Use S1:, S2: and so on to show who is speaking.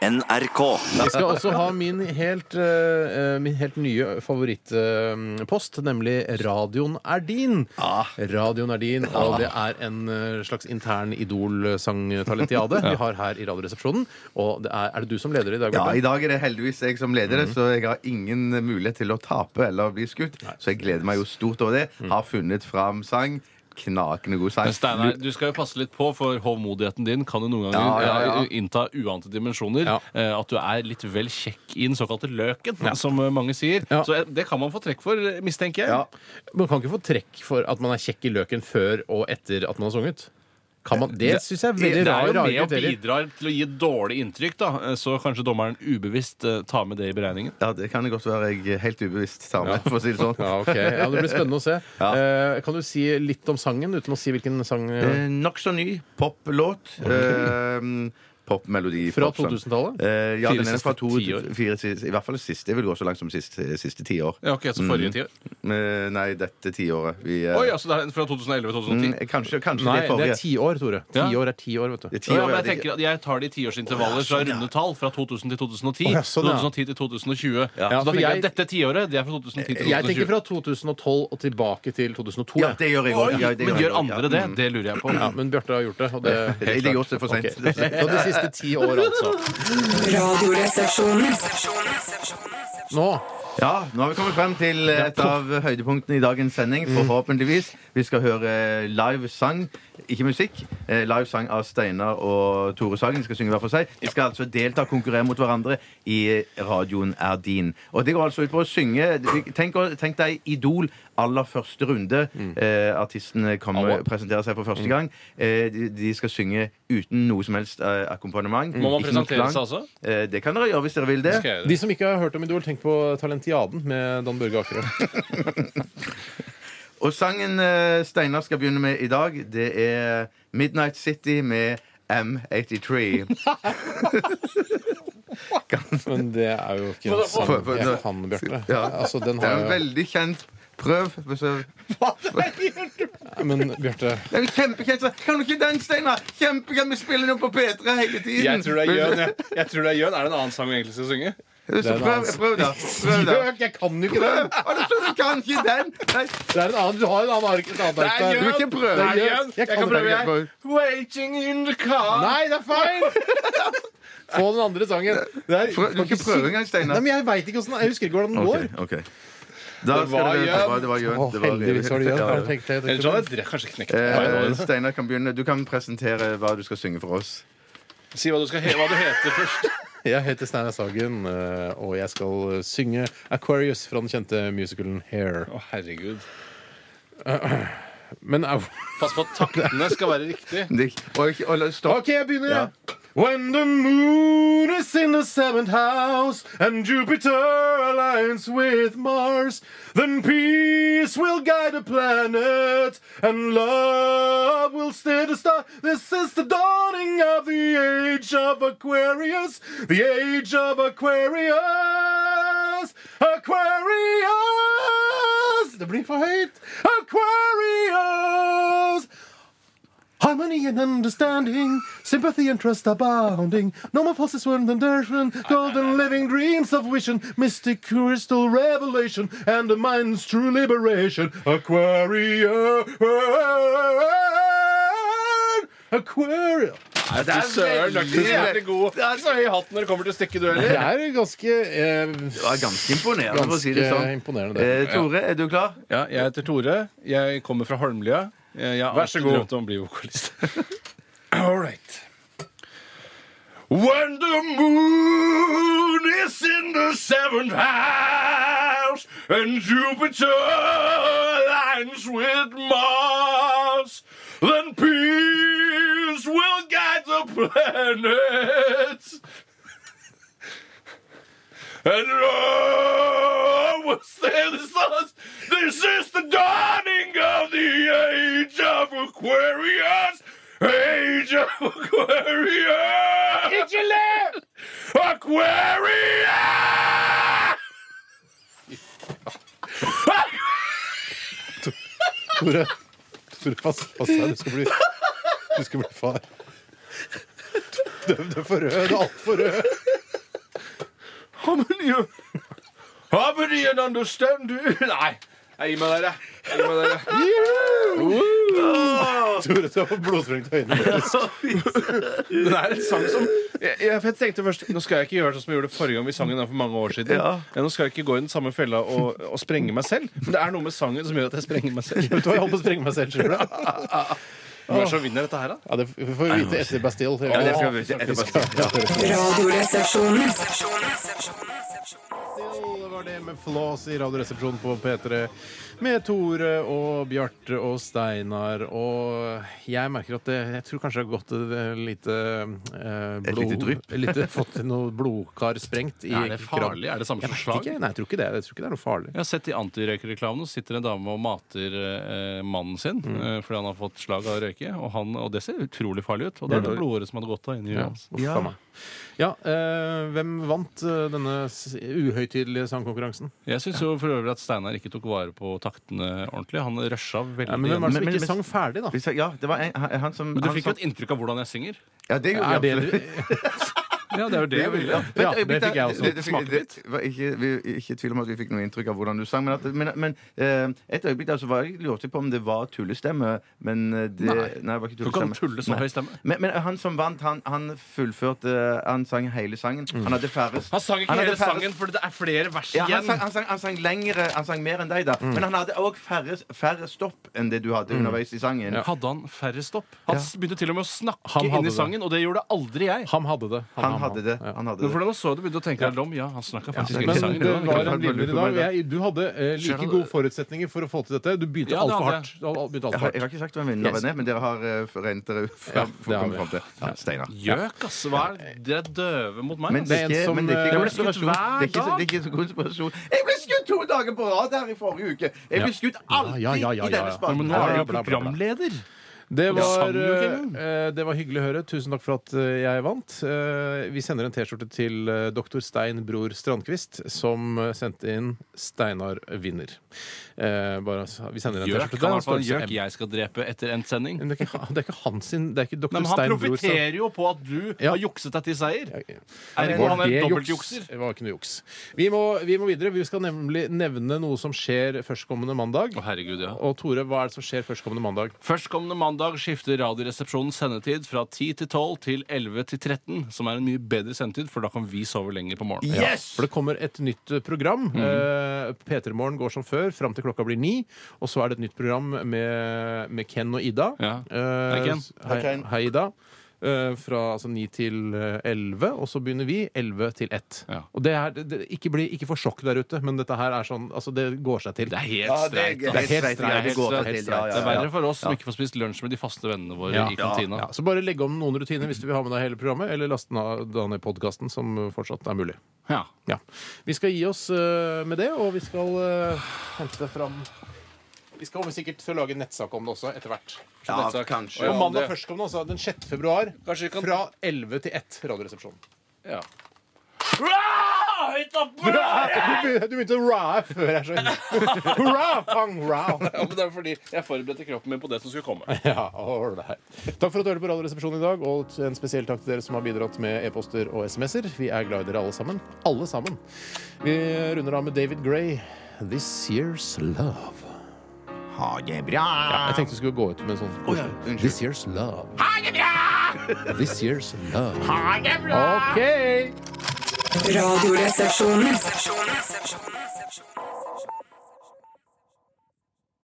S1: NRK.
S2: Vi skal også ha min helt, eh, min helt nye favorittpost, nemlig Radioen er din. Radioen er din, og det er en eh, slags intern Idol-sangtalentiade vi har her i Radioresepsjonen. Og det er, er det du som leder i dag,
S3: Ja, I
S2: Bjarte?
S3: dag er det heldigvis jeg som leder,
S4: Mhm.
S3: så jeg har ingen mulighet til å tape eller bli skutt. Så jeg gleder meg jo stort over det. Har funnet fram sang. Knakende god sang.
S4: Mm. Men Steinar, du skal jo passe litt på, for hovmodigheten din kan jo noen ganger
S3: Ja, ja, ja.
S4: eh, innta uante dimensjoner.
S2: Ja.
S4: Eh, At du er litt vel kjekk i den såkalte løken, som eh, mange sier.
S2: Ja.
S4: Så eh, det kan man få trekk for, eh, mistenker jeg.
S3: Ja.
S2: Man kan ikke få trekk for at man er kjekk i løken før og etter at man har sunget. Kan man? Det syns jeg er
S4: Det
S2: veldig
S4: er
S2: rar,
S4: jo med
S2: rare
S4: og
S2: kriterier.
S4: bidrar til å gi dårlig inntrykk, da. Eh, Så kanskje dommeren ubevisst eh, tar med det i beregningen.
S3: Ja, det kan det godt være jeg helt ubevisst tar med, for å si det sånn.
S2: Ja, ok. ja, Det blir spennende å se.
S3: Ja.
S2: Eh, kan du si litt om sangen uten å si hvilken sang? eh,
S3: Eh, Nokså ny poplåt. Eh, Popmelodi.
S2: Fra
S3: popsang.
S2: 2000-tallet?
S3: Eh, ja,
S4: Fire
S3: den er
S4: siste
S3: fra to,
S4: tiår.
S3: fire, siste- I hvert fall siste. Jeg vil gå så langt som siste, siste tiår.
S4: Ja, ok, Så forrige
S3: Mm.
S4: tiår.
S3: Eh, nei, dette tiåret. Vi, eh,
S4: Oi, altså det er fra 2011-2010.
S3: mm, kanskje kanskje
S2: Nei,
S3: det
S2: det
S3: forrige.
S2: er tiår, Tore.
S4: Ja.
S2: Tiår er ti år, vet du.
S3: Det er ti
S4: Ja,
S3: år,
S4: men
S3: ja,
S4: jeg tenker at jeg tar det i tiårsintervaller fra runde tall. Fra 2000 til 2010.
S2: sånn, Å, ja, sånn, ja.
S4: 2010 til 2020. Så
S2: Ja,
S4: da
S2: for
S4: tenker jeg
S2: jeg-
S4: at dette tiåret det er fra 2010 til 2020.
S2: Jeg tenker fra 2012 og tilbake til 2002.
S3: Ja,
S2: jeg.
S3: det gjør jeg òg. Ja, det Mm.
S4: Men
S3: jeg
S4: gjør
S3: også, ja.
S4: andre det? Det lurer jeg på.
S2: Ja, men Bjarte har gjort det. Og det
S3: Det er gjort det for sent.
S2: Ok. Så de siste ti år, altså.
S5: Radioresepsjonen.
S2: Nå
S3: Ja, nå har vi kommet frem til et av høydepunktene i dagens sending, forhåpentligvis. Vi skal høre live sang, ikke musikk, eh, live sang av Steinar og Tore Sagen. De skal synge hver for seg. De skal altså delta og konkurrere mot hverandre i Radioen er din. Og det går altså ut på å synge Tenk, å- tenk deg Idol aller første runde. Eh, artistene kommer, presenterer seg for første gang. Eh, de, de skal synge uten noe som helst eh, akkompagnement.
S4: Må man
S3: Ikke noe
S4: presentere seg
S3: klang.
S4: altså?
S3: Eh, det kan dere gjøre hvis dere vil det.
S4: Skal jeg gjøre
S2: De som ikke har hørt om Idol, tenk på Talentiaden med Dan Børge Akerø.
S3: Og sangen eh, Steinar skal begynne med i dag, det er Midnight City med M83.
S2: Men det er jo ikke en sang jeg kan, Bjarte. Altså, den
S3: Det er
S2: har
S3: en
S2: jeg
S3: veldig kjent Prøv. så-
S2: Men Bjarte
S3: Det er jo Kjempekjent. så- Kan du ikke den, Steinar? Kjempekjent. Vi spiller den jo på P3 hele tiden.
S4: Jeg tror det er Jøn. Jeg. jeg tror det Er Jøn Er det en annen sang vi egentlig skal synge?
S3: eh, Så prøv,
S2: altså.
S3: prøv, da. Prøv, da.
S2: Jeg kan jo ikke
S3: Prøv.
S2: den!
S3: Å, du tror du kan ikke den? Nei,
S2: Det er en annen, du har en annen ark. et annet ark der.
S3: Du vil ikke prøve?
S4: Det er
S2: Jøn.
S4: Jøn.
S2: Jeg kan prøve, jeg.
S3: prøve.
S4: Waiting in the car
S2: Nei, det er feil! Få den andre sangen. Det er-
S3: Prøv- Du vil ikke prøve engang, Steinar?
S2: Nei, men Jeg vet ikke hvordan Jeg husker ikke hvordan den går.
S3: Ok, ok. Da
S4: Det
S3: skal
S4: var
S3: det-
S4: Jøn.
S3: det var- Det var Jøn.
S2: Å,
S3: Det var-
S2: heldigvis var det
S3: Ja,
S2: Jørn.
S3: ja.
S2: Jeg tenkte- jeg
S4: Ellers
S2: tenkte-
S4: hadde dere kanskje knekt
S3: Eh,
S4: det.
S3: Steinar kan begynne. Du kan presentere hva du skal synge for oss.
S4: Si hva du, skal he hva du heter først.
S2: Jeg heter Steinar Sagen, eh, og jeg skal synge Aquarius fra den kjente musicalen Hair.
S4: Å, herregud.
S2: Men au.
S4: Pass på at taktene skal være riktig.
S3: Dick. Og, og, la- stopp.
S2: OK, jeg begynner.
S3: Ja.
S2: When the moon is in the seventh house and Jupiter aligns with Mars, then peace will guide the planet and love will steer the star. This is the dawning of the age of Aquarius, the age of Aquarius, Aquarius. Det blir for høyt. Aquarius. Harmony and understanding, sympathy and trust abounding. No more forces were than Gershwin, golden living dreams of vision, mystic crystal revelation, and the mind's true liberation. Aquarius! Aquarius!
S4: Nei, fy søren, du er ikke så jævlig god. Det er så høy hatt når det kommer til stykkedueller.
S2: er ganske eh,
S3: Det var ganske imponerende, for å si det sånn. Eh, Tore, er du klar?
S4: Ja, jeg heter Tore. Jeg kommer fra Holmlia. Jeg jeg har
S2: Vær så
S4: alltid
S2: god.
S4: drømt om å bli vokalist. All right. When the moon is in the seventh house and Jupiter aligns with Mars, then peace will guide the planets. And love will stand the stars. This is the dawning of the age of Aquarius. Age of Aquarius. Ikke le! Aquarius!
S2: Tore, Tore pass, pass deg. Du skal bli, du skal bli far. Du, du er for rød. Du er altfor rød.
S6: How many you How many you understand you? Nei. Jeg gir meg der, jeg. jeg. gir meg der, jeg.
S2: Tore så på blodsprengt øyne.
S6: Den er en sang som jeg, jeg, for jeg tenkte først, Nå skal jeg ikke gjøre sånn som jeg gjorde forrige gang vi sang den her for mange år siden.
S3: Ja.
S6: nå skal jeg ikke gå i den samme fella og, og sprenge meg selv. Men det er noe med sangen som gjør at jeg sprenger meg selv.
S2: Vet du hva, jeg holdt på å sprenge meg selv sjøl. Ja,
S6: Hvem er det som vinner dette her, da?
S2: det f- vi får vi vite etter Bastille.
S3: Ja, det skal vi vite etterpå.
S7: Radioresepsjonen.
S2: Bastille var det med Flås i Radioresepsjonen på P3 med Tore og Bjarte og Steinar. Og jeg merker at det, jeg tror kanskje jeg har gått et eh, lite eh,
S3: Et
S2: blod-
S3: lite drypp.
S2: lite- fått noe blodkar sprengt i
S4: Er det farlig?
S2: kroppen.
S4: Er det samme
S2: Jeg
S4: som
S2: vet
S4: slag?
S2: ikke. Nei, jeg tror ikke det. Jeg tror ikke det er noe farlig.
S4: Jeg har sett i antirøykereklamene så sitter en dame og mater eh, mannen sin
S6: Mm.
S4: eh, fordi han har fått slag av å røyke. Og, han, og det ser utrolig farlig ut. Og det er det blodåret som hadde gått av inni huet
S2: Ja,
S4: hans.
S2: uff a meg. ja eh, hvem vant eh, denne s- uhøytidelige sangkonkurransen?
S4: Jeg syns jo for øvrig at Steinar ikke tok vare på taktene ordentlig. Han rusha veldig.
S2: Ja, men hvem var det som
S3: men-
S2: ikke
S3: men-
S2: sang ferdig, da?
S3: Vi sa- Ja, det var en, han- han som
S4: Men du
S3: han
S4: fikk
S3: som-
S4: jo et inntrykk av hvordan jeg synger.
S3: Ja, det
S2: Er
S3: gjorde
S2: det
S3: jeg absolutt.
S2: du,
S4: Ja, det er jo det jeg ville.
S3: Vent,
S2: Ja, det
S3: øyeblikk,
S2: fikk jeg også.
S3: det- det fikk-
S4: Smakte litt.
S3: det var Ikke, vi, ikke i tvil om at vi fikk noe inntrykk av hvordan du sang. Men, at, men, men eh, et øyeblikk der så var jeg lurte jeg på om det var tullestemme. Men eh, det, nei. det var ikke
S4: Du
S3: tullestemme.
S4: kan tulle så
S3: Nei.
S4: høy stemme.
S3: Men, men han som vant, han, han fullførte eh, Han sang hele sangen. Han hadde færrest
S4: Han sang ikke
S3: han hadde
S4: hele
S3: færrest-
S4: sangen, for det er flere vers
S3: Ja, han,
S4: igjen.
S3: sang, han, sang, han sang lengre, han sang mer enn deg, da. Men han hadde òg færre, færre stopp enn det du hadde underveis i sangen.
S4: Hadde han færre stopp? Han s- begynte til og med å snakke
S2: Han hadde
S4: inn i
S2: det.
S4: sangen, og det gjorde aldri jeg.
S2: Han hadde det.
S3: Han hadde det. Han hadde
S4: Men
S3: det.
S4: hvordan så du begynte å tenke deg om? Ja, han snakka faktisk
S2: Men
S4: ikke sangen.
S2: det var
S3: Ja,
S2: en vinner i dag. Jeg, du hadde eh, like
S4: Skjønner du-
S2: gode forutsetninger for å få til dette. Du begynte
S4: Ja, det
S2: altfor
S4: hadde
S2: hardt. Du hadde begynte alt
S3: Jeg
S2: for
S3: har,
S2: hardt.
S3: jeg har ikke sagt hvem vinneren
S2: Yes.
S3: er, men dere har uh, forent dere
S2: Ja,
S3: frem-
S2: det
S3: for å
S2: har vi.
S3: komme fram til ja, Steinar.
S4: Gjøk, ass! Hva er dere er døve mot meg?
S3: Men det
S4: ass.
S3: er
S2: en
S3: ikke
S2: som,
S3: men det er
S2: eh,
S3: ikke
S2: ble
S4: skutt
S3: konspirasjon.
S4: hver
S3: Det er ikke,
S4: dag.
S3: det er ikke så konspirasjon. Jeg ble skutt to dager på rad her i forrige uke! Jeg ble skutt alltid
S2: ja, ja, ja,
S3: i denne
S2: ja.
S4: Ja,
S3: spalten.
S4: men nå er du
S2: Bla, bla,
S4: jo
S2: bla, bla.
S4: programleder.
S2: Det
S4: sang
S2: var,
S4: jo ikke engang.
S2: eh, det var hyggelig å høre. Tusen takk for at eh, jeg vant. Eh, Vi sender en T-skjorte til eh, doktor Stein Bror Strandquist, som eh, sendte inn 'Steinar vinner'. Eh, Bare, altså, vi sender en
S4: Gjøk
S2: T-skjorte
S4: kan i hvert fall
S2: til han,
S4: gjøk jeg skal drepe etter endt sending.
S2: Men Det er ikke, det er ikke han sin Det er ikke
S4: Nei,
S2: doktor
S4: men han
S2: Stein Bror Strand-
S4: profiterer jo på at du
S2: Ja.
S4: har jukset deg til seier.
S2: Ja, ja.
S4: Ergo
S2: Var
S4: han er
S2: det
S4: dobbeltjukser.
S2: juks? Det var ikke noe juks. Vi må, vi må videre. Vi skal nemlig nevne noe som skjer førstkommende mandag.
S4: Å, herregud, ja.
S2: Og Tore, hva er det som skjer førstkommende mandag?
S4: Førstkommende mandag skifter Radioresepsjonens sendetid fra 10 til 12 til 11 til 13, som er en mye bedre sendetid, for da kan vi sove lenger på morgenen.
S3: Yes!
S2: For det kommer et nytt eh, program.
S4: Mm.
S2: Eh, P3 Morgen går som før fram til klokka blir ni. Og så er det et nytt program med, med Ken og Ida.
S4: Ja.
S2: Eh,
S4: Hei, Ken.
S2: s- Hei,
S3: Hei, Ken.
S2: hei, Ida. Eh, fra altså, 9 til eh, 11, og så begynner vi 11 til 1.
S4: Ja.
S2: Og det er, det, det, ikke, bli, ikke for sjokk der ute, men dette her er sånn Altså, det går seg til.
S4: Det er
S3: Ja,
S4: helt
S3: det
S4: streit.
S3: er
S4: ass.
S3: helt streit.
S4: Det er
S3: Det går seg
S4: helt streit.
S3: til, ja, ja,
S4: Det er
S3: ja.
S4: verre for oss som ikke får spist lunsj med de faste vennene våre
S2: Ja.
S4: i kantina.
S2: Ja, så bare legge om noen rutiner hvis du vil ha med deg hele programmet, eller laste den av- ned podkasten, som fortsatt er mulig.
S4: Ja.
S2: Ja. Vi skal gi oss eh, med det, og vi skal eh, hente fram Vi skal komme sikkert til å lage en nettsak om det også, etter hvert. Så
S3: Ja,
S2: nettsak.
S3: kanskje.
S2: Og mandag førstkommende, altså den 6. februar,
S4: Kanskje vi kan-
S2: fra 11 til 1, Radioresepsjonen.
S4: Ja. Hurra! Høyt oppe!
S2: Du begynte å raa før jeg skjønner. Hurra, pang, ra.
S4: Ja, men det er fordi jeg forberedte kroppen min på det som skulle komme.
S2: Ja, all right. Takk for at du hørte på Radioresepsjonen i dag, og en spesiell takk til dere som har bidratt med e-poster og SMS-er. Vi er glad i dere alle sammen. Alle sammen. Vi runder av med David Gray, 'This Year's Love'.
S3: Ha det bra!
S2: Ja, jeg tenkte vi skulle gå ut med en sånn
S3: ja, unnskyld.
S2: This year's love. This year's love.
S7: Radioresepsjonen.